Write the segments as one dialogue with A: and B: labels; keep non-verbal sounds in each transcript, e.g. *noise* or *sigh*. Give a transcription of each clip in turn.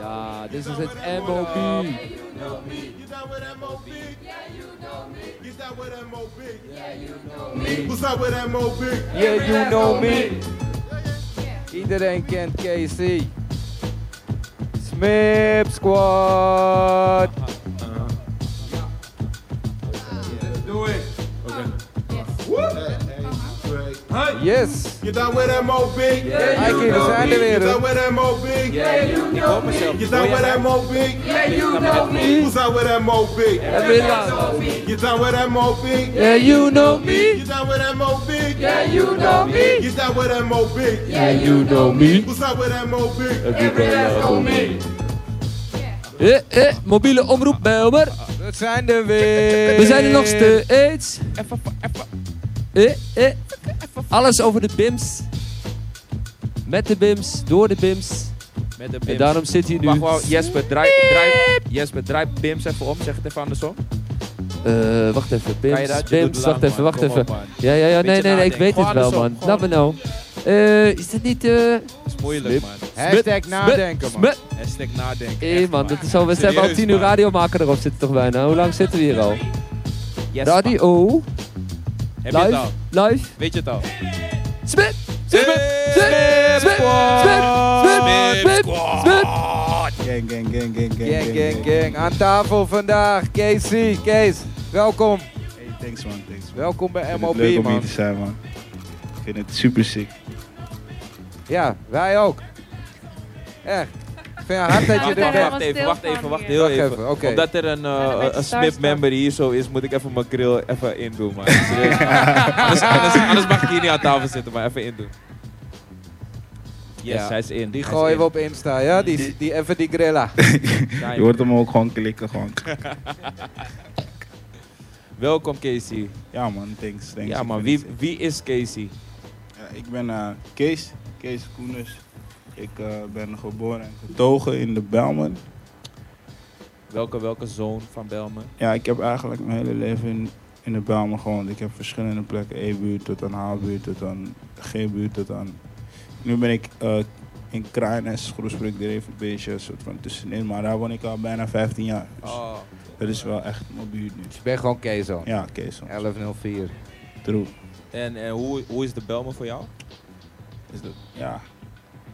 A: Ja, dit is het MOB.
B: You down with MOB? Yeah, you know me. You down with MOB? Yeah, you know me. Who's up with MOB?
A: Yeah, you know me. Iedereen kent KC. Smip Squad.
C: Doe ik.
B: Right.
A: Yes.
B: You down with MOB? Yeah,
A: Mikey, we zijn er
B: You
A: weer.
B: down
A: hoor.
B: with MOB? Yeah,
C: Ik hoor mezelf.
B: you down with MOB? Yeah, you know me. Who's up with MOB?
A: En Milan.
B: You down with MOB?
A: Yeah, you know me.
B: You down with MOB?
A: Yeah, you know me.
B: You down with MOB?
A: Yeah, you know me.
B: Who's up with MOB?
D: Eh, eh, mobiele omroep Belmer.
A: We zijn er weer.
D: We zijn er nog steeds. Eh, eh. Alles over de BIMS. Met de BIMS, door de BIMS.
C: Met de
D: En
C: bims.
D: daarom zit hij nu.
C: Wacht, wacht, Jesper, draai, draai, Jesper, draai bims even om, zegt even aan de som.
D: Eh, wacht even,
C: Kan je
D: BIMS,
C: dat? Je doet
D: BIMS,
C: lang,
D: wacht even,
C: man.
D: wacht
C: Kom
D: even.
C: op, man.
D: Ja, ja, ja, nee, nee, nee, ik
C: nadenken.
D: weet het
C: Gewoon
D: wel,
C: alles op,
D: man.
C: gewoon.
D: Nou, maar nou. Eh, is dat niet... eh
C: Dat is moeilijk, man.
A: Hashtag nadenken, man.
D: Smut.
C: Hashtag nadenken.
D: Hé,
C: echt,
D: man, dat is al, we hebben al
C: Serieus,
D: tien uur
C: man.
D: radiomaker erop zitten toch bijna. Hoe lang zitten we hier al?
C: Yes, man.
D: Radio,
C: Heb je het
D: live,
C: al?
D: live.
C: Weet je het al?
D: Smit! Smit! Smit!
C: Smit
D: Smit!
C: Squad!
D: Smit! Smit! Smit!
C: Squad!
D: Smit!
B: Gang, gang, gang, gang,
A: Gang, gang, gang. Aan tafel vandaag. KC. Kees, welkom.
E: Hey, thanks man, thanks man.
A: Welkom bij
E: Ik vind het leuk
A: MOB,
E: om hier
A: man.
E: te zijn man. Ik vind het super sick.
A: Ja, wij ook. Echt. Ik vind het hard dat je
C: Wacht,
F: Ja,
A: er
C: wacht,
F: daar
A: bent.
C: wacht
F: was
C: even,
F: stil
C: wacht
F: van
C: even, wacht
F: hier.
C: heel
A: Wacht
C: even.
A: even, oké.
C: Omdat er een,
F: een
C: eh
F: beetje
C: een
F: starstruck.
C: SMIP-member hier zo is, moet ik even mijn grill even indoen,
F: *laughs*
C: man. Serieus. anders, anders, anders mag ik hier niet aan tafel zitten, maar even indoen. Yes,
A: Ja.
C: hij is in.
A: Die
C: Hij is
A: gooien
C: in.
A: we op Insta, ja? Die, die even die grilla.
C: Zijn
E: Je hoort hem ook gewoon klikken gewoon.
A: *laughs*
C: we. Welkom, Casey.
E: Ja man, thanks, thanks.
C: Ja,
E: Ik
C: man,
E: vind
C: wie,
E: het sick.
C: wie is Casey?
E: Ja, ik ben eh, Kees, Kees Koeners. Ik eh, ben geboren en getogen in de Belmen.
C: Welke, welke zoon van Belmen?
E: Ja, ik heb eigenlijk mijn hele leven in, in de Belmen gewoond. Ik heb verschillende plekken, E-buurt tot aan H-buurt tot aan G-buurt tot aan... Nu ben ik eh, in Kraaienest, Groesbrug, er even een beetje een soort van tussenin. Maar daar woon ik al bijna 15 jaar. Dus
C: Oh,
E: Dat is wel echt mijn buurt nu.
A: Ik ben gewoon Kees, hoor.
E: Ja, Kees.
A: 1104.
E: True.
C: en, en hoe, hoe is de Belmen voor jou?
E: Dus dat, ja.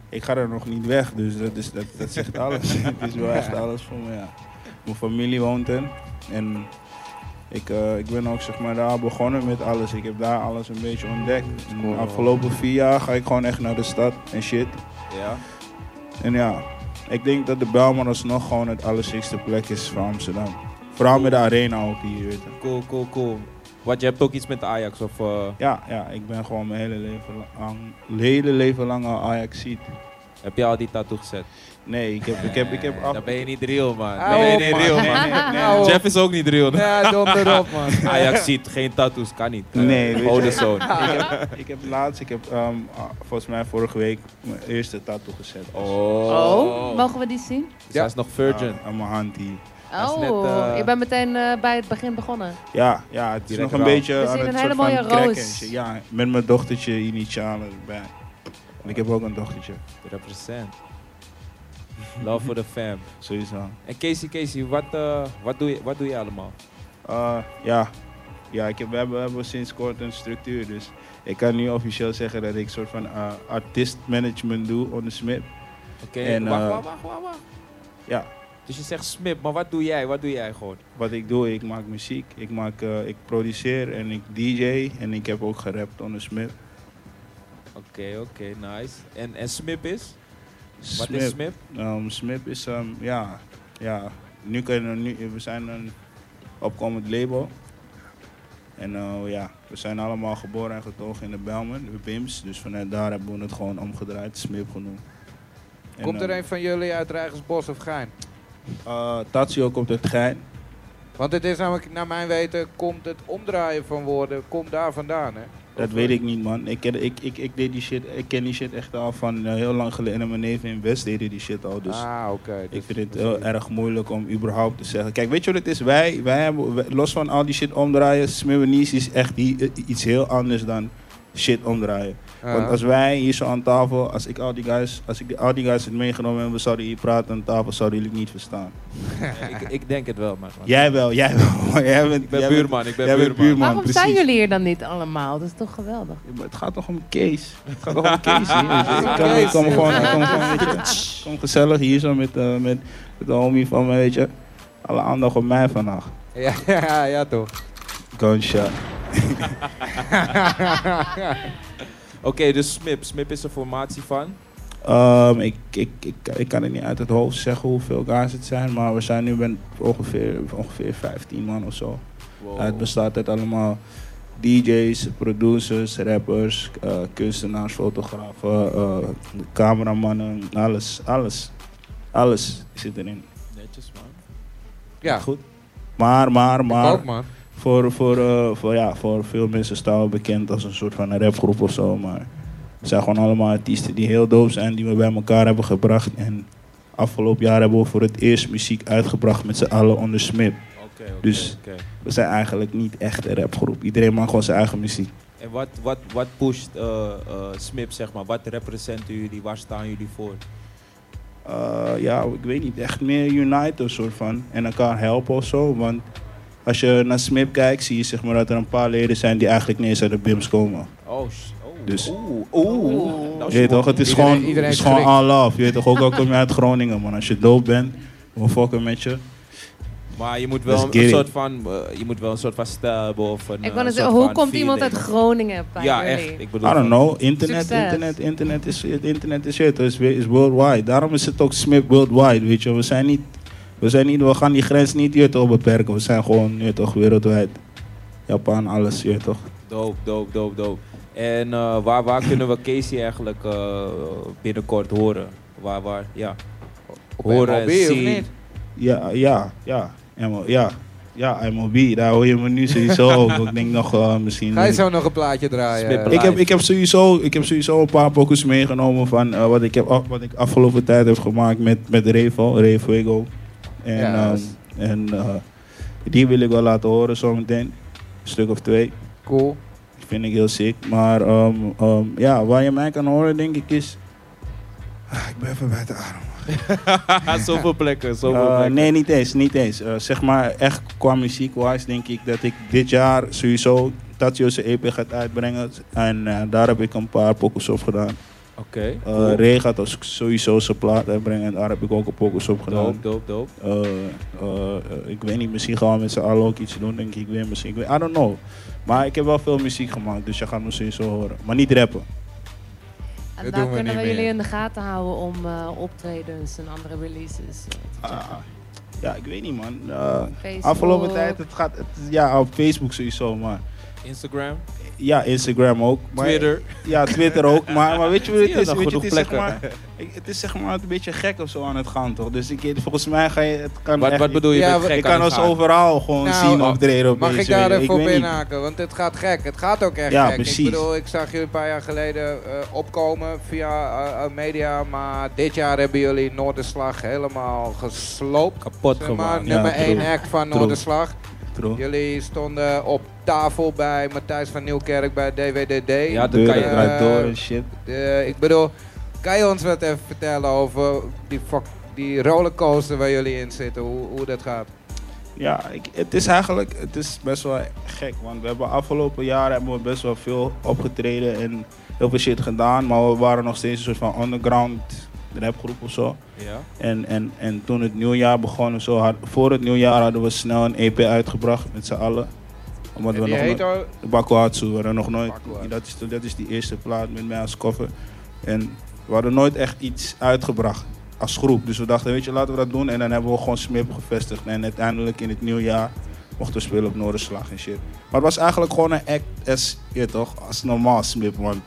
E: Ik ga er nog niet weg, dus dat, is, dat, dat zegt alles. Het is wel echt alles voor me, ja. Mijn familie woont in. En ik, eh, ik ben ook zeg maar, daar begonnen met alles. Ik heb daar alles een beetje ontdekt. En de afgelopen vier jaar ga ik gewoon echt naar de stad en shit.
C: Ja.
E: En ja, ik denk dat de Belmar alsnog gewoon het allerzikste plek is van Amsterdam. Vooral met de arena ook hier, weet je.
C: Cool, cool, cool. Want je hebt ook iets met de Ajax of... eh,
E: Ja, ja, ik ben gewoon mijn hele leven lang, hele leven lang al Ajax-ziet.
C: heb je al die tattoo gezet?
E: Nee, ik heb, ik heb, ik heb
C: Nee,
E: af-
C: Dan ben je Oh, niet real, man. Dan
A: Hou
C: ben je
A: op,
C: niet
A: man.
C: real,
E: Nee,
C: man.
E: nee, nee, nee.
A: Hou op.
C: Jeff is ook niet
A: *laughs*
C: real.
A: Ja, dom erop, *laughs* man.
C: Ajax ziet geen tattoos, kan niet.
E: Nee, weet je.
C: Oude zoon.
E: Ik heb laatst, ik heb ehm, ah, volgens mij vorige week mijn eerste tattoo gezet.
F: Oh, mogen we die zien?
C: Dus hij is nog Oh, virgin.
E: Ja, eh, aan mijn hand hier.
C: is
F: Oh,
C: net, eh,
F: ik ben meteen eh, bij het begin begonnen.
E: Ja, ja, het is
C: Direct
E: nog een
C: raal.
E: beetje
F: We
E: aan
F: zien
E: het
F: een
E: soort
F: hele mooie
E: van cracken
F: roos.
E: en shit. Ja, met mijn dochtertje initialen erbij. En ik heb ook een dochtertje,
C: Represent. Love for the fam.
E: sowieso.
C: En Casey, Casey, wat, eh, wat, doe, je, wat doe je allemaal?
E: Eh, ja, ja ik heb, we, hebben, we hebben sinds kort een structuur, dus ik kan nu officieel zeggen dat ik soort van eh, artiestmanagement doe onder Smip.
C: Oké,
E: En,
C: wacht,
E: eh,
C: wacht, wacht, wacht, wacht.
E: Ja,
C: Dus je zegt Smip, maar wat doe jij? Wat doe jij gewoon?
E: wat ik doe, ik maak muziek, ik, maak, eh, ik produceer en ik DJ en ik heb ook gerapt onder Smip.
C: Oké, oké, nice. En, en Smip is? Wat
E: Smip.
C: is Smip?
E: Ehm, Smip is, ehm, ja, ja. Nu kunnen we, nu, we zijn een opkomend label. En eh, ja, we zijn allemaal geboren en getogen in de Belmen, de Bims. Dus vanuit daar hebben we het gewoon omgedraaid, Smip genoemd. En,
A: Komt er
E: ehm,
A: een van jullie uit Rijgersbos of Gein?
E: eh, Tatsio komt uit Gein.
A: Want het is namelijk, naar mijn weten, komt het omdraaien van woorden, komt daar vandaan, hè?
E: Dat weet
A: eh,
E: ik niet, man. Ik ken, ik, ik, ik, deed die shit, ik ken die shit echt al van eh, heel lang geleden. En mijn neef in West deden die shit al. Dus
A: ah, oké.
E: Ik
A: dus-
E: vind het heel erg moeilijk om überhaupt te zeggen. Kijk, weet je wat het is? Wij, wij hebben, wij- los eh, van al die shit omdraaien, Smibbenies is echt i- i- iets heel anders dan shit omdraaien.
A: Ah.
E: Want als wij hier zo aan tafel, als ik al die guys, als ik die- al die guys had meegenomen en we zouden hier praten aan tafel, zouden jullie het niet verstaan.
C: ik, ik denk het wel, maar.
E: Jij wel, jij wel. *laughs* maar jij bent,
C: Ik ben
E: jij bent-
C: buurman, ik ben
E: jij bent
C: buurman.
E: buurman,
F: Waarom
E: precies.
F: zijn jullie hier dan niet allemaal? Dat is toch geweldig?
E: Ja, maar het gaat toch om Kees? Het gaat
C: *laughs*
E: toch om Kees hier? Ik kan-
A: Kees.
E: ik kom gewoon ik kom gewoon, weet je, ik kom gezellig hier zo met, eh, met, met de homie van me, weet je. Alle aandacht op mij vandaag.
A: *laughs* Ja, ja, ja toch.
E: Gunshot.
C: Oké, dus Smip. Smip is een formatie van.
E: Ehm, ik, ik, ik, ik kan het niet uit het hoofd zeggen hoeveel guys het zijn, maar we zijn nu met ongeveer, ongeveer 15 man of zo. Het bestaat uit allemaal DJ's, producers, rappers, eh, kunstenaars, fotografen, eh, cameramannen, alles, alles. Alles zit erin.
C: Netjes, man.
A: Ja,
E: Goed. Maar, maar,
A: ik ook
E: maar,
A: man.
E: voor, voor, eh, voor, ja, voor veel mensen staan we bekend als een soort van een rapgroep of zo. Maar we zijn gewoon allemaal artiesten die heel dope zijn, die we bij elkaar hebben gebracht. En afgelopen jaar hebben we voor het eerst muziek uitgebracht met z'n allen onder Smip.
C: Oké, oké.
E: Dus-
C: oké.
E: We zijn eigenlijk niet echt een rapgroep. Iedereen maakt gewoon zijn eigen muziek.
C: En wat, wat, wat pusht eh, eh, Smip, zeg maar? Wat representen jullie? Waar staan jullie voor?
E: Eh, ja, ik weet niet, echt meer uniten soort van. En elkaar helpen of zo. Want als je naar Smip kijkt, zie je zeg maar dat er een paar leden zijn die eigenlijk niet eens uit de BIMS komen.
C: Oh, sh- oh.
E: Dus-
C: Oeh, oeh.
E: Je weet toch, het is
A: Iedereen-
E: gewoon,
A: iedereen
E: het is gewoon
A: schrikt.
E: all love. Je weet toch, ook al kom je uit Groningen, man. Als je dood bent, we fucken met je.
C: Maar je moet
E: Let's
C: wel
E: get
C: een
E: it.
C: soort van, eh, je moet wel een soort van stijl hebben of een. eh,
F: Ik wou net
C: soort
F: zeggen, hoe
C: van
F: komt iemand uit
C: feeling.
F: Groningen bij
C: Ja,
F: jullie?
C: echt. Ik bedoel,
E: I don't know, internet,
F: Succes.
E: internet, internet is, het internet is shit. Is, is worldwide. Daarom is het ook Smip worldwide, weet je. We zijn niet, we zijn niet, we gaan die grens niet, je weet toch, beperken. We zijn gewoon, je weet toch, wereldwijd. Japan, alles, je weet toch.
C: Doop, doop, doop, doop. En eh, waar, waar kunnen we Casey eigenlijk eh, binnenkort horen? Waar, waar, ja. Horen,
A: MLB of
C: zien.
A: niet?
E: Ja, ja, ja. ML, ja. Ja, MLB, daar hoor je me
A: *laughs*
E: nu sowieso over. Ik denk nog eh, misschien...
A: Ga je zo nog een plaatje draaien?
C: Smippelen.
A: eh?
E: Ik heb, ik, heb sowieso, ik heb sowieso een paar pokus meegenomen van eh, wat, ik heb, af- wat ik afgelopen tijd heb gemaakt met, met Revo, Revuego. En,
A: Ja, dat
E: ehm, en eh, die wil ik wel laten horen zometeen. Een stuk of twee.
A: Cool.
E: Dat vind ik heel sick. Maar ehm, ehm, ja, waar je mij kan horen denk ik is... Ah, ik ben even bij de adem.
C: *laughs* zoveel plekken, zoveel
E: Eh,
C: plekken.
E: nee, niet eens, niet eens. Eh, zeg maar echt qua muziek-wise denk ik dat ik dit jaar sowieso Tatio zijn EP gaat uitbrengen. En eh, daar heb ik een paar pokus op gedaan.
C: Oké.
E: Eh
C: cool.
E: Ray gaat als sowieso zijn plaat uitbrengen en daar heb ik ook een focus op gedaan.
C: Doop, doop, doop.
E: Eh, eh, eh, ik weet niet, misschien gaan we met z'n allen ook iets doen, denk ik weer. Misschien, ik weet, I don't know. Maar ik heb wel veel muziek gemaakt, dus je gaat me sowieso horen. Maar niet rappen.
F: En
A: Dat
F: daar
A: doen we
F: kunnen
A: niet
F: we jullie
A: meer.
F: in de gaten houden om eh, optredens en andere releases. eh, te
E: Ah,
F: checken.
E: ja, ik weet niet man. Eh,
F: Facebook.
E: afgelopen tijd, het gaat, het, ja, op Facebook sowieso, maar
C: Instagram,
E: ja, Instagram ook. Maar,
C: Twitter.
E: Ja, Twitter ook. Maar, maar weet je wat
C: Zie
E: het
C: je,
E: is?
C: nog
E: Weet je,
C: genoeg
E: het, is zeg
C: plekken.
E: maar, ik- het is zeg maar een beetje gek of zo aan het gaan toch? Dus ik, volgens mij ga je, het kan
C: Wat,
E: echt
C: wat
E: niet-
C: bedoel je
A: Ja,
C: met
A: we-
C: gek
E: Ik kan
C: aan het
E: ons
C: gaan?
E: overal gewoon
A: Nou,
E: zien
A: mag-
E: optreden.
A: Mag
E: opeens,
A: ik daar
E: weet je.
A: even op
E: weet niet.
A: inhaken? Want het gaat gek. Het gaat ook echt
E: Ja,
A: gek.
E: precies.
A: Ik bedoel, ik zag jullie een paar jaar geleden eh, opkomen via eh, eh, media. Maar dit jaar hebben jullie Noorderslag helemaal gesloopt.
C: Kapot
A: Zeg maar,
C: gemaakt.
E: ja,
A: nummer
E: true.
A: 1 act van
E: True.
A: Noorderslag.
E: True.
A: Jullie stonden op tafel bij Matthijs van Nieuwkerk bij DWDD.
C: Ja, dat
E: Deuren
C: kan je.
E: draait
A: eh,
E: door en shit.
A: De- ik bedoel, kan je ons wat even vertellen over die, fuck, die rollercoaster waar jullie in zitten? Hoe, hoe dat gaat?
E: Ja, ik, het is eigenlijk het is best wel gek. Want we hebben afgelopen jaren hebben we best wel veel opgetreden en heel veel shit gedaan. Maar we waren nog steeds een soort van underground rapgroep of zo.
C: Ja.
E: En, en, en toen het nieuwjaar begon en zo, had, voor het nieuwjaar hadden we snel een EP uitgebracht met z'n allen. Omdat
A: En
E: we
A: die
E: nog,
A: heet al-
E: De Bakuhatsu, we hadden nog nooit.
A: Bakuhatsu.
E: Dat is, de- dat is die eerste plaat met mij als cover. En we hadden nooit echt iets uitgebracht als groep. Dus we dachten, weet je, laten we dat doen. En dan hebben we gewoon Smip gevestigd. En uiteindelijk in het nieuwjaar mochten we spelen op Noorderslag en shit. Maar het was eigenlijk gewoon een act as, je weet toch, als normaal Smip. Want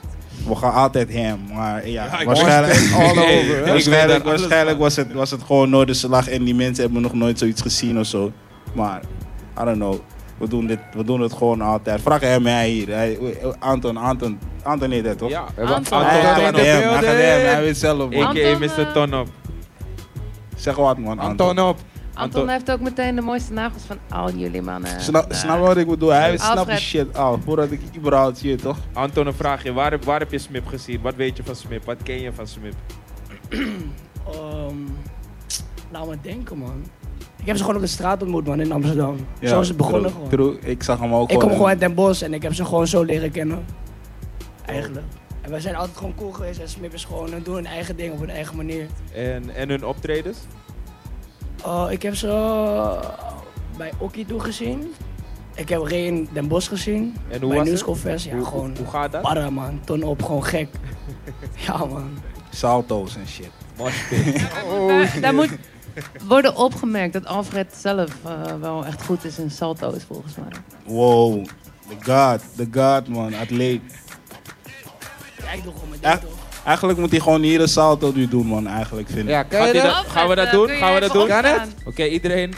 E: we gaan altijd hem. Maar ja,
C: Ja, ik
E: waarschijnlijk,
C: all
E: *laughs*
C: over.
E: Hey,
C: Ik weet daar
E: waarschijnlijk,
C: alles
E: waarschijnlijk
C: van.
E: was, het, was het gewoon Noorderslag. En die mensen hebben nog nooit zoiets gezien of zo. Maar, I don't know. We doen, dit, we doen het gewoon altijd. Vraag hem hij hier. Hij, Anton, Anton. Anton heet hij toch?
C: Ja.
A: We hebben
F: Anton.
E: Hij, hij
C: Anton in
E: gaat
C: de
E: hem, hij gaat hem. Hij
C: building.
F: eh,
E: weet zelf, man.
C: A.k.a.
F: Anton,
C: Mr.
F: eh,
C: Tonop.
E: Zeg wat, man. Anton.
A: Anton op.
C: eh,
F: Anton heeft ook meteen de mooiste nagels van al jullie mannen.
E: Snap,
F: Nou,
E: snap wat ik bedoel? Hij snapt die
F: Alfred.
E: shit al voordat ik überhaupt je toch?
F: eh.
C: Anton, een vraagje. Waar, heb- waar heb je Smip gezien? Wat weet je van Smip? Wat ken je van Smip?
G: Ehm, laat maar denken, man. Ik heb ze gewoon op de straat ontmoet, man, in Amsterdam.
E: Ja,
G: zo is het begonnen
E: true,
G: gewoon.
E: true. ik zag hem ook
G: Ik kom
E: en-
G: gewoon uit Den Bosch en ik heb ze gewoon zo leren kennen. Eigenlijk. En wij zijn altijd gewoon cool geweest en Smip is gewoon, eh, doen hun eigen ding op hun eigen manier.
C: En, en hun optredens?
G: Oh, ik heb ze eh, bij Okkie toe gezien. Ik heb Ray in Den Bosch gezien.
C: En hoe
G: bij
C: was
G: New
C: het?
G: School Fest, ja,
C: hoe,
G: gewoon
C: hoe, hoe gaat dat?
G: para, man. Ton op, gewoon gek. *laughs* ja, man.
E: Salto's en shit.
C: oh.
F: Daar, daar moet *laughs* worden opgemerkt dat Alfred zelf eh, wel echt goed is in salto's, volgens mij.
E: Wow. The God, the God man, atleet.
G: Ja, ik doe gewoon mijn
E: Ja.
G: ding, toch?
E: Eigenlijk moet hij gewoon hier een salto nu doen man, eigenlijk vind ik.
A: Ja, kan
C: Gaat
A: je
C: hij
A: dat?
C: dat- gaan we dat doen? Gaan we dat doen?
A: Kan het?
C: Oké, iedereen.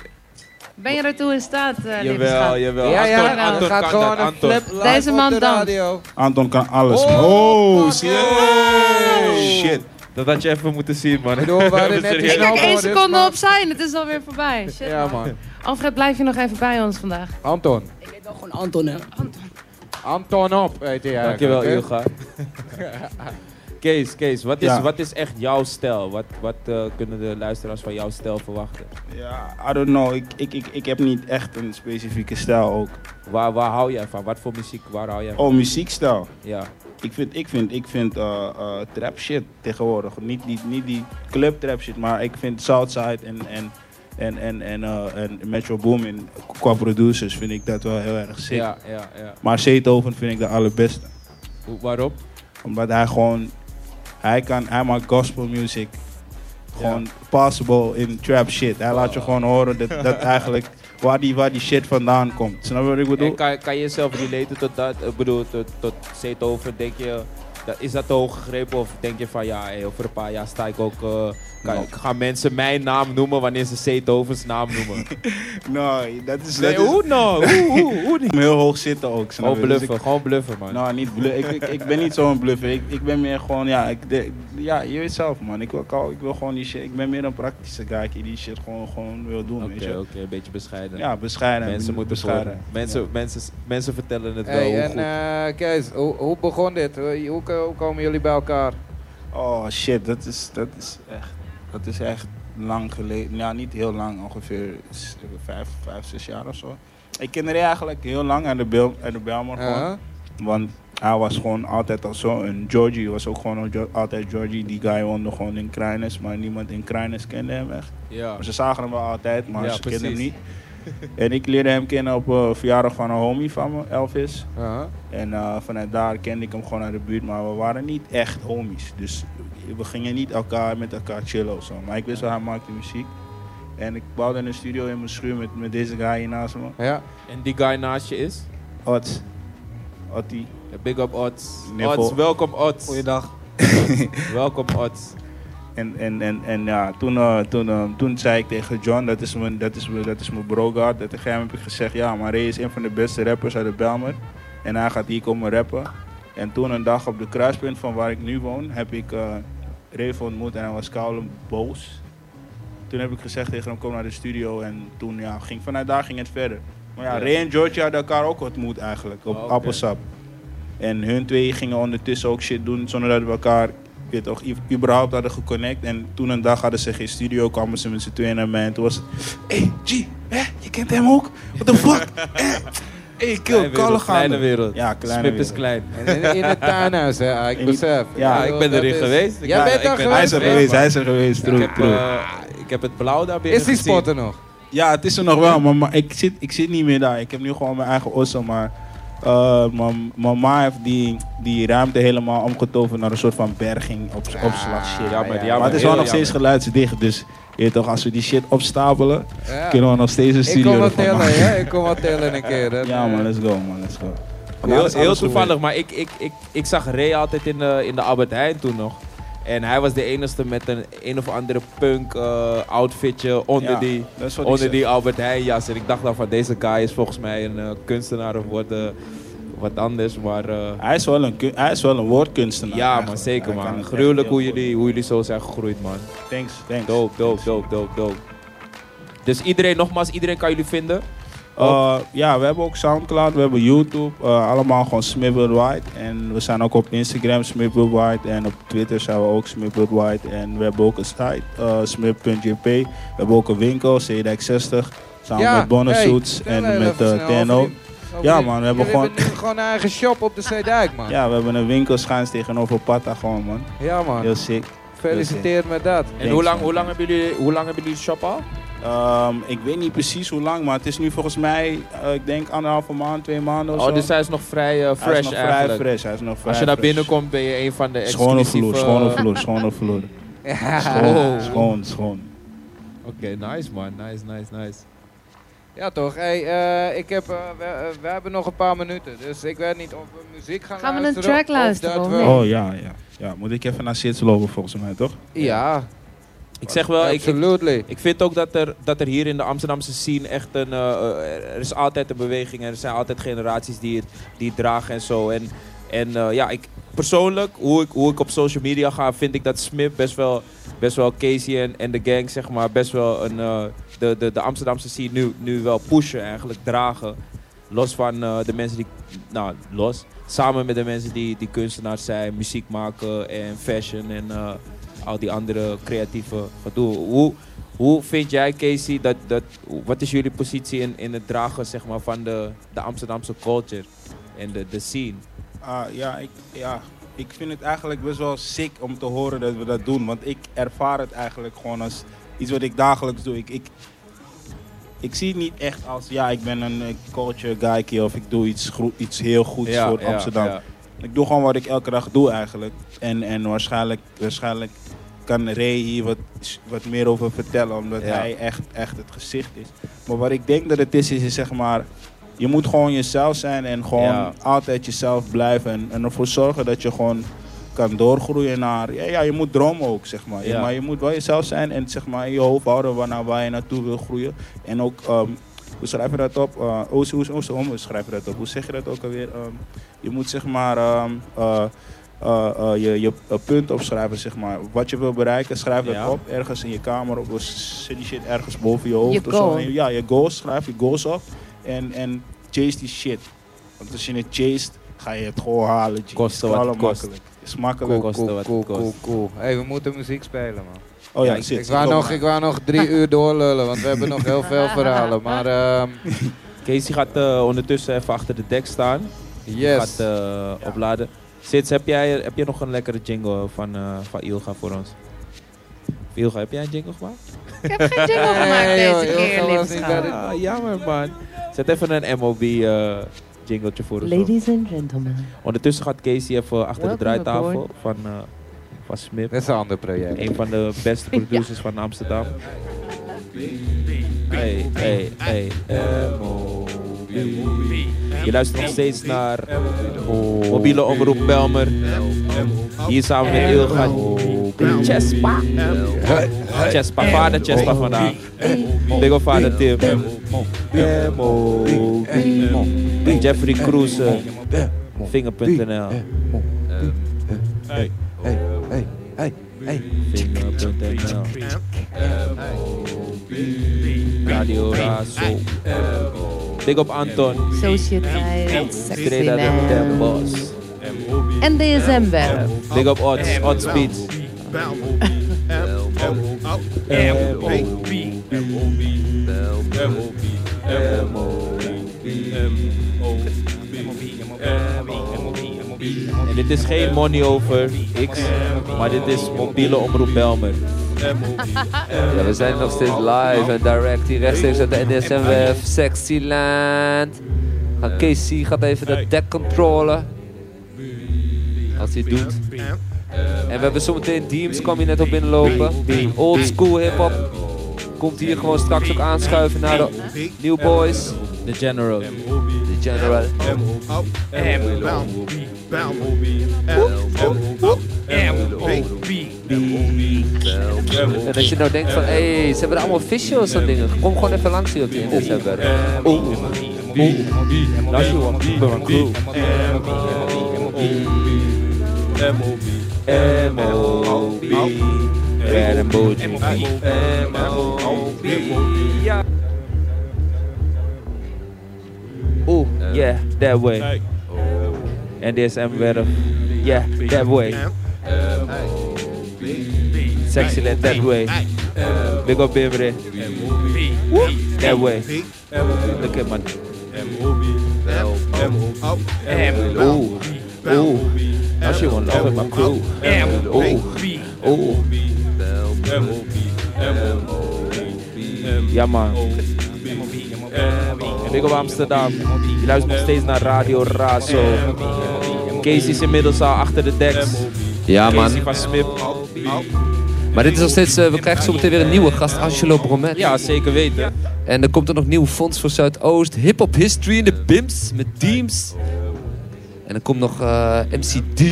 F: Ben je daartoe in staat, eh lieve
C: Jawel,
F: schat?
C: jawel.
A: Ja, ja,
C: Anton,
A: dan
C: Anton
A: gaat
C: kan
A: gewoon
C: nou, dat.
A: een
C: Anton.
A: flip live
F: Deze
A: op
F: man
A: de
F: danst.
A: radio.
E: Anton Ah, kan alles.
A: Oh,
E: man. Oh, shit.
C: Oh.
A: fucking-
E: shit.
C: Dat had je even moeten zien, man. *laughs*
A: Ik bedoel, we hadden net die
F: Ik
A: snel-
F: kijk één
A: Snowboard, dit
F: seconde
A: nou, maar.
F: op zijn, het is alweer voorbij. Shit,
A: Ja,
F: man.
A: man.
F: Alfred, blijf je nog even bij ons vandaag?
A: Anton.
G: Ik heet wel gewoon Anton, hè.
A: Anton op, weet hij eigenlijk.
C: Dankjewel,
A: hè?
C: Ilga. *laughs* Kees, Kees, wat is,
E: Ja.
C: wat is echt jouw stijl? Wat, wat eh, kunnen de luisteraars van jouw stijl verwachten?
E: Ja, I don't know. Ik, ik, ik, ik heb niet echt een specifieke stijl ook.
C: Waar, waar hou jij van? Wat voor muziek, waar hou jij van?
E: Oh, muziekstijl.
C: Ja.
E: Ik vind, ik vind, ik vind eh, eh, trap shit tegenwoordig. Niet die, niet die club trap shit, maar ik vind Southside en, en, en, en, en, eh, en Metro Boomin qua producers vind ik dat wel heel erg sick.
C: Ja, ja, ja.
E: Maar Beethoven vind ik de allerbeste.
C: Hoe- Waarop?
E: Omdat hij gewoon, hij kan, hij maakt gospel music gewoon possible in trap shit. Hij laat je gewoon horen dat,
C: *laughs*
E: dat eigenlijk waar die, waar die shit vandaan komt. Snap je wat ik bedoel?
C: En kan, kan je jezelf relaten tot dat? Ik bedoel, tot, tot Zeetover, denk je, dat, is dat te hoog gegrepen? Of denk je van, ja, hey, over een paar jaar sta ik ook... eh, kan,
E: Nou.
C: Gaan mensen mijn naam noemen wanneer ze Zeetovers naam
E: *laughs*
C: noemen?
E: Nee, dat is, dat
C: nee,
E: is
C: hoe nou? Hoe, hoe, hoe
E: *laughs*
C: niet?
E: heel hoog zitten ook. Snap
C: Gewoon
E: je? Dus ik-
C: bluffen, Nou, gewoon bluffen, man.
E: Nou, niet blu- ik, ik, ik ben niet zo'n bluffer. Ik, ik ben meer gewoon, ja, ik, de- ja, je weet zelf, man. Ik wil, kou- ik wil gewoon die shit. Ik ben meer een praktische guy die die shit gewoon, gewoon wil doen.
C: Oké,
E: weet je.
C: oké, een beetje bescheiden.
E: Ja, bescheiden.
C: mensen moeten
E: bescheiden.
C: bescheiden. Mensen, mensen, mensen vertellen het wel
A: Hey,
C: hoe
A: en
C: goed.
A: eh, Kees, hoe, hoe begon dit? Hoe, hoe hoe komen jullie bij elkaar?
E: Oh shit, dat is, dat is echt, dat is echt lang geleden. Nou, niet heel lang, ongeveer s- vijf, vijf, zes jaar of zo. Ik kende Ray eigenlijk heel lang aan de, Bel, aan de Belmer gewoon.
A: Huh?
E: Want hij was gewoon altijd al zo. En Georgie was ook gewoon al Jo- altijd Georgie. Die guy woonde gewoon in Kruines, maar niemand in Kruines kende hem echt.
C: ja.
E: Maar ze zagen hem wel altijd, maar
C: Ja,
E: ze kenden hem
C: precies.
E: niet. En ik leerde hem kennen op eh verjaardag van een homie van me, Elvis.
A: Huh?
E: En eh, vanuit daar kende ik hem gewoon uit de buurt, maar we waren niet echt homies. Dus we gingen niet elkaar met elkaar chillen of zo. Maar ik wist wel, hij maakte muziek. En ik bouwde een studio in mijn schuur met, met deze guy hier naast me.
A: Ja.
C: En die guy naast je is?
E: Ot. Otti.
C: Big up Ots.
E: Nippel.
C: Ots, welkom Ots.
E: Goeiedag.
C: Welkom Ots.
E: En, en, en, en ja, toen, eh, toen, eh, toen zei ik tegen John, dat is mijn, dat is mijn, dat is mijn bro guard. Dat tegen hem heb ik gezegd, ja, maar Ray is een van de beste rappers uit de Belmer. En hij gaat hier komen rappen. En toen een dag op de kruispunt van waar ik nu woon, heb ik eh Ray ontmoet en hij was koud boos. Toen heb ik gezegd tegen hem, kom naar de studio. En toen ja, ging, vanuit daar ging het verder. Maar ja,
C: Ja.
E: Ray en Georgia hadden elkaar ook ontmoet eigenlijk, op
C: Oh, oké.
E: Appelsap. En hun twee gingen ondertussen ook shit doen zonder dat we elkaar weet toch, i- überhaupt hadden geconnect. En toen een dag hadden ze geen studio, kwamen ze met z'n tweeën naar mij. En toen was het, hey G, hè? je kent hem ook? What the fuck? Hé, hey,
C: Kleine
E: kill, kallen
C: wereld,
E: gaan.
C: kleine wereld.
E: Ja, kleine
C: Smip is
E: wereld.
C: klein.
A: En In, in het tuinhuis, hè? Ik
E: In die-
A: besef.
E: ja,
A: bedoel,
C: ik ben erin
A: dat is-
C: geweest. Ik
A: Jij
E: Nou,
C: ben-
A: bent
C: ik
A: er
C: ben-
A: geweest.
E: Hij is er
A: man.
E: geweest, hij is er geweest.
C: Ik
E: True,
C: heb,
E: true.
C: eh, ik heb het blauw daar binnen
A: Is die
C: gezien.
A: spot er nog?
E: Ja, het is er nog wel, maar, maar ik, zit, ik zit niet meer daar. Ik heb nu gewoon mijn eigen osso, maar eh, mijn- mijn ma heeft die, die ruimte helemaal omgetoverd naar een soort van berging op, opslag shit.
C: Ah, jammer, jammer,
E: maar het is
C: heel
E: wel nog steeds
C: jammer.
E: geluidsdicht, dus je weet toch, als we die shit opstapelen,
A: Ja.
E: kunnen we nog steeds een
A: Ik
E: studio
A: kom wat
E: ervan maken.
A: tellen, ja. Ik kom wat tellen een keer. hè.
E: *laughs* Ja man, let's go man, let's go.
C: Heel, heel toevallig, maar ik, ik, ik, ik zag Ray altijd in de, in de Albert Heijn toen nog. En hij was de enige met een een of andere punk eh, outfitje onder
E: Ja,
C: die...
E: dat is wat ik
C: onder
E: zeg.
C: die Albert Heijn jas. En ik dacht dan van deze guy is volgens mij een eh, kunstenaar of wat, eh, wat anders. Maar eh,
E: Hij is wel een, kun- hij is wel een woordkunstenaar.
C: ja,
E: eigenlijk.
C: man, zeker
E: Hij kan het
C: man.
E: echt
C: Gruwelijk
E: heel
C: hoe
E: goed.
C: jullie, hoe jullie zo zijn gegroeid man.
E: Thanks, thanks.
C: Dope, dope, dope, dope, dope. Dus iedereen, nogmaals, iedereen kan jullie vinden.
E: Eh, ja, we hebben ook Soundcloud, we hebben YouTube. eh, allemaal gewoon Smith Worldwide. En we zijn ook op Instagram Smith Worldwide. En op Twitter zijn we ook Smith Worldwide. En we hebben ook een site, eh smith.jp. We hebben ook een winkel, CDX60. Samen
A: Ja,
E: met Bonner
A: hey,
E: Suits
A: vertel
E: en
A: even
E: met
A: snel
E: eh
A: over die-
E: TNO.
A: Over
E: Ja,
A: die-
E: man, we hebben
A: jullie
E: gewoon-
A: nu gewoon een eigen shop op de Zeedijk, man. Ja,
E: Ja, we hebben een winkel schuins tegenover Patta gewoon, man.
A: man.
E: Heel sick.
A: Gefeliciteerd met dat. *laughs*
C: En hoe lang, hoe, lang hebben jullie, hoe lang hebben jullie de shop al?
E: Ehm, ik weet niet precies hoe lang, maar het is nu volgens mij, eh, ik denk anderhalve maand, twee maanden of zo.
C: Oh, dus hij is nog vrij eh, fresh
E: hij is nog
C: eigenlijk.
E: vrij fresh. Hij is nog vrij
C: Als je naar
E: fresh.
C: binnenkomt ben je een van de
E: Schone vloer,
C: exclusieve... eh,
E: schone vloer, schone vloer. *laughs* Oh. Schoon, schoon, schoon.
C: Oké, nice man. Nice, nice, nice.
A: Ja, toch. Hey, eh, ik heb, eh, we, eh, we hebben nog een paar minuten, dus ik weet niet of we muziek gaan,
F: Gaan we een
A: luisteren
F: track
A: of
F: luisteren,
A: dat
F: of
A: we-
F: niet?
E: Oh ja, ja. Ja, moet ik even naar Sits lopen volgens mij, toch?
A: Ja,
C: Ik zeg wel, ik, ik,
A: absolutely.
C: ik vind ook dat er, dat er hier in de Amsterdamse scene echt een... eh, eh, er is altijd een beweging en er zijn altijd generaties die het, die het dragen en zo. En, en eh, ja, ik, persoonlijk, hoe ik, hoe ik op social media ga, vind ik dat Smip best wel... Best wel Casey en, en de gang, zeg maar, best wel een, eh, de, de, de Amsterdamse scene nu, nu wel pushen eigenlijk, dragen. Los van eh, de mensen die, nou los, samen met de mensen die, die kunstenaars zijn, muziek maken en fashion en eh, al die andere creatieve gedoe. Hoe, hoe vind jij Casey, dat, dat, wat is jullie positie in, in het dragen zeg maar, van de, de Amsterdamse culture en de, de scene?
E: Ah, ja, ik, ja, ik vind het eigenlijk best wel sick om te horen dat we dat doen. Want ik ervaar het eigenlijk gewoon als iets wat ik dagelijks doe. Ik, ik, ik zie het niet echt als, ja, ik ben een eh, culture guy of ik doe iets, gro- iets heel goeds voor Amsterdam.
C: ja.
E: Ik doe gewoon wat ik elke dag doe eigenlijk. En, en waarschijnlijk, waarschijnlijk kan Ray hier wat, wat meer over vertellen, omdat
C: Ja.
E: hij echt, echt het gezicht is. Maar wat ik denk dat het is, is, is zeg maar, je moet gewoon jezelf zijn en gewoon
C: Ja.
E: altijd jezelf blijven. En, en ervoor zorgen dat je gewoon kan doorgroeien naar, ja, ja je moet dromen ook, zeg maar.
C: Ja.
E: Maar je moet wel jezelf zijn en zeg maar in je hoofd houden waar, naar waar je naartoe wil groeien. En ook, ehm, hoe schrijf je dat op? Eh, hoe, hoe, hoe, hoe, hoe schrijf je dat op? Hoe zeg je dat ook alweer? Ehm, je moet zeg maar ehm, eh, eh, eh, je, je eh, punt opschrijven, zeg maar. Wat je wil bereiken, schrijf dat
C: Ja.
E: op. Ergens in je kamer op, of zit die shit ergens boven je hoofd.
F: Je
E: of zo.
F: goal.
E: En Ja, je goals, schrijf je goals op. En, en chase die shit. Want als je het chase, ga je het gewoon halen. G.
C: Koste
E: Het is
C: wat
E: wel
C: het kost.
E: makkelijk. Het is makkelijk.
A: Cool,
C: kosten
A: cool,
C: wat
A: cool,
C: het kost.
A: cool, cool. Hey, we moeten muziek spelen, man.
E: Oh ja,
C: Ja, ik-
E: shit.
A: Ik wou, nog,
E: Kom.
A: ik wou nog
E: *laughs*
A: drie uur doorlullen, want we hebben nog heel veel verhalen. Maar ehm
C: Casey gaat eh, ondertussen even achter de dek staan.
A: yes.
C: Gaat eh, opladen. Sits, heb jij, heb jij nog een lekkere jingle van, eh, van Ilga voor ons? Ilga, heb jij een jingle gemaakt?
F: Ik heb geen jingle
A: Nee,
F: gemaakt
A: joh,
F: deze
A: joh,
F: keer,
A: dat was
F: lieve
A: niet
F: schat.
A: bij
C: Ah, jammer man. Zet even een MOB eh jingletje voor ons. op.
F: Ladies and gentlemen.
C: Ondertussen gaat Casey even achter de
F: Welcome
C: draaitafel
F: aboard.
C: van, eh van Smip.
A: Dat is een ander project.
C: eh, Een van de beste producers van Amsterdam. Hey, hey, hey, MOB. Je luistert nog steeds naar mobiele omroep Belmer. Hier samen met Ilga. Chespa. Chespa, vader Chespa vandaag. Big ol' vader Tim. MOB. Jeffrey Cruz. Vinger.nl. Vinger.nl. Radio Razo. Big op Anton.
F: Sociëteit,
C: Streda de
F: Sexyland.
C: Tempos.
F: En DSM-web.
C: Big op Odds. Odds Beats. En dit is geen money over X, maar dit is mobiele omroep Belmer.
H: Ja, we zijn nog steeds live en direct hier rechtstreeks uit de NSM-web. Sexyland. Gaat Casey gaat even de deck controlen. Als hij het doet. En we hebben zometeen Deems, kwam hier net op binnenlopen. Old school hip-hop. Komt hier gewoon straks ook aanschuiven naar de New Boys.
C: The General.
H: The General. En als je nou denkt van, hé, hey, ze hebben er allemaal officials en dingen. Kom gewoon even langs hier op de NSM-web.
C: That's you want people and crew. M.O.B. Red and bougie. M.O.B. yeah, that way. NDSM werf, yeah, that way. Sexyland, that way. Big up Bimre, that way. Look at my. Ooh, ooh. Now she wanna love with my crew. Ooh, ooh. Ja man. En ik op Amsterdam. Je luistert nog steeds naar Radio Razo. Casey is inmiddels al achter de deks.
H: Ja,
C: Casey
H: man.
C: van Smip.
H: Maar dit is nog steeds... eh, we krijgen zo meteen weer een nieuwe gast, Angelo Bromet.
C: Ja, zeker weten.
H: En er komt er nog nieuw fonds voor Zuidoost. Hip Hop History in de Bims met Deems. En er komt nog eh, MCD en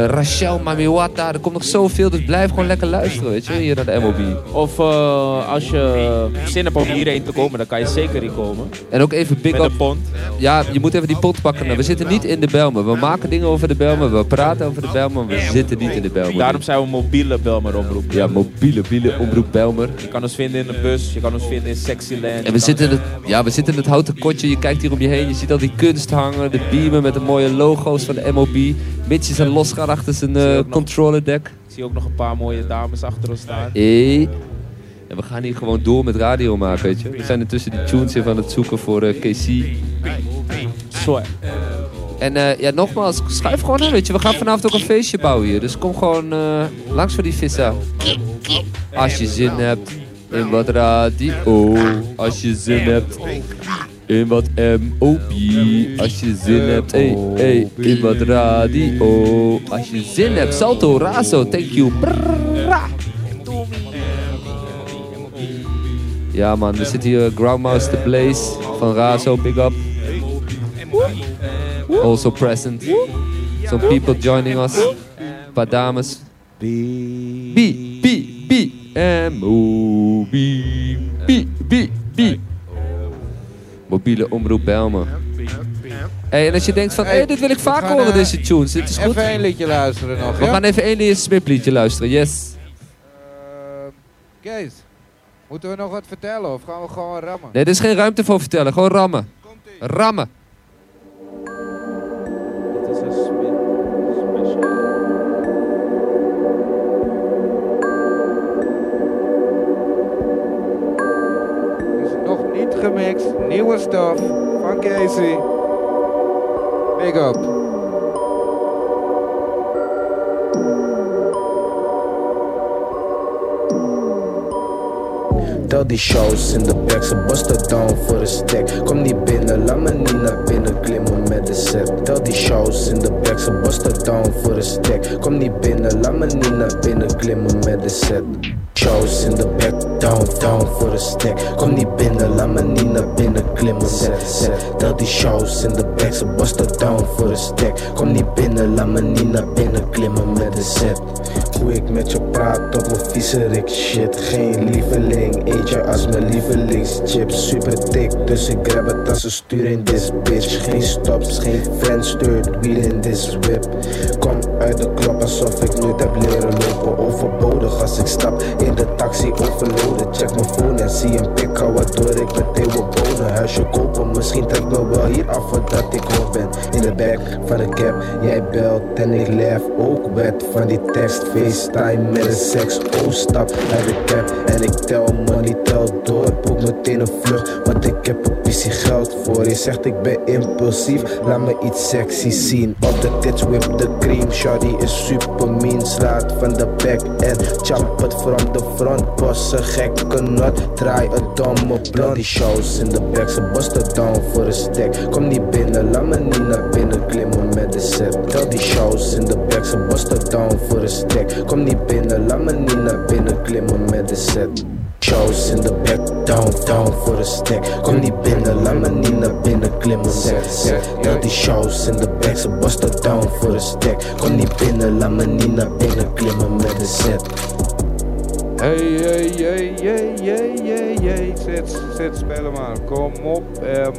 H: eh, Rachel Mamiwata. Er komt nog zoveel, dus blijf gewoon lekker luisteren, weet je, hier naar de MOB.
C: Of eh, als je zin hebt om hierheen te komen, dan kan je zeker hier komen.
H: En ook even big
C: Met
H: up.
C: een pond.
H: Ja, je moet even die pot pakken. Nou, We zitten niet in de Belmen. We maken dingen over de Belmen, we praten over de Belmen, we zitten niet in de Belmen.
C: Daarom zijn we mobiele Belmer omroep.
H: Ja, mobiele bielen, omroep Belmer.
C: Je kan ons vinden in de bus, je kan ons vinden in Sexyland.
H: En we zitten, in het, ja, we zitten in het houten kotje, je kijkt hier om je heen, je ziet al die kunst hangen, de beamen met de mooie logo's van de MOB. Mitch is aan losgaan achter zijn eh, controller deck.
C: Ik zie ook nog een paar mooie dames achter ons staan.
H: Hey. En we gaan hier gewoon door met radio maken, weet je. We zijn intussen die tunes even aan het zoeken voor eh, KC.
C: Swag.
H: En eh, ja, nogmaals, schuif gewoon aan, weet je. We gaan vanavond ook een feestje bouwen hier. Dus kom gewoon eh, langs voor die vissa. Als je zin hebt in wat radio. Als je zin hebt in wat MOB. Als je zin hebt hey, hey, in wat radio. Als je zin hebt, Salto Razo, thank you. Brrra. Ja man, er zit hier Groundmouse The Blaze van Razo, big up. Also present. Some people joining us. Een paar dames. B, B, B, M, O, B, B, B, B. Mobiele omroep Belmen. Hey, en als je denkt van, hey, dit wil ik
A: we
H: vaak
A: gaan,
H: horen,
A: eh,
H: deze tunes. Dit is goed.
A: Even een liedje luisteren nog,
H: We
A: ja?
H: gaan even één Lies Smip liedje luisteren, yes.
A: Eh, Kees, moeten we nog wat vertellen of gaan we gewoon rammen?
H: Nee, er is geen ruimte voor vertellen, gewoon rammen. Rammen.
A: Dus nog niet gemixt, nieuwe stuff van Casey. Big up.
I: Tel die shows in de back, ze busten down voor een stack. Kom niet binnen, laat me niet naar binnen klimmen met de set. Tel die shows in de back, ze busten down voor een stack. Kom niet binnen, laat me niet naar binnen klimmen met de set. Shows in de back, down, down voor een stack. Kom niet binnen, laat me niet naar binnen klimmen set, set. Tel die shows in de back, ze busten down voor een stack. Kom niet binnen, laat me niet naar binnen klimmen met de set. Hoe ik met je praat op een viezerik shit Geen lieveling, eet je als mijn lievelingschip Super dik, dus ik grab het als een stuur in this bitch Geen stops, geen friends, stuurt wiel in this whip Kom uit de klop alsof ik nooit heb leren lopen Overbodig als ik stap in de taxi overloaden Check mijn phone en zie een pik hou waardoor ik meteen wil bonen Huisje kopen, misschien trek me wel hier af voordat ik hoog ben In de back van de cab, jij belt en ik lef ook wet van die tekst FaceTime met een seks, oh stap uit de cab En ik tel money, tel door, boek meteen een vlucht Want ik heb een pissie geld voor Je zegt ik ben impulsief, laat me iets sexy zien Op de tits whip de cream, shawty is super mean Slaat van de back en jump het from the front Bossen gekke not, draai het domme blond Die shows in de back, ze busten down voor een stack Kom niet binnen, laat me niet naar binnen klimmen met de set Tel die shows in de back, ze busten down voor een stack Kom niet binnen, laat me niet naar binnen klimmen met de set Shows in de back, down, down voor een stack Kom niet binnen, laat me niet naar binnen klimmen set, set Tel die shows in de back, ze busten down voor een stack Kom niet binnen, laat me niet naar binnen klimmen met de set
A: Hey, hey, hey, hey, hey, hey, hey. Zit, zit spelen maar. Kom op,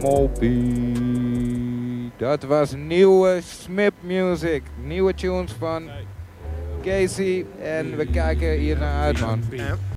A: Mopie. Dat was nieuwe Smip Music. Nieuwe tunes van Casey. En we kijken hier naar uit, man.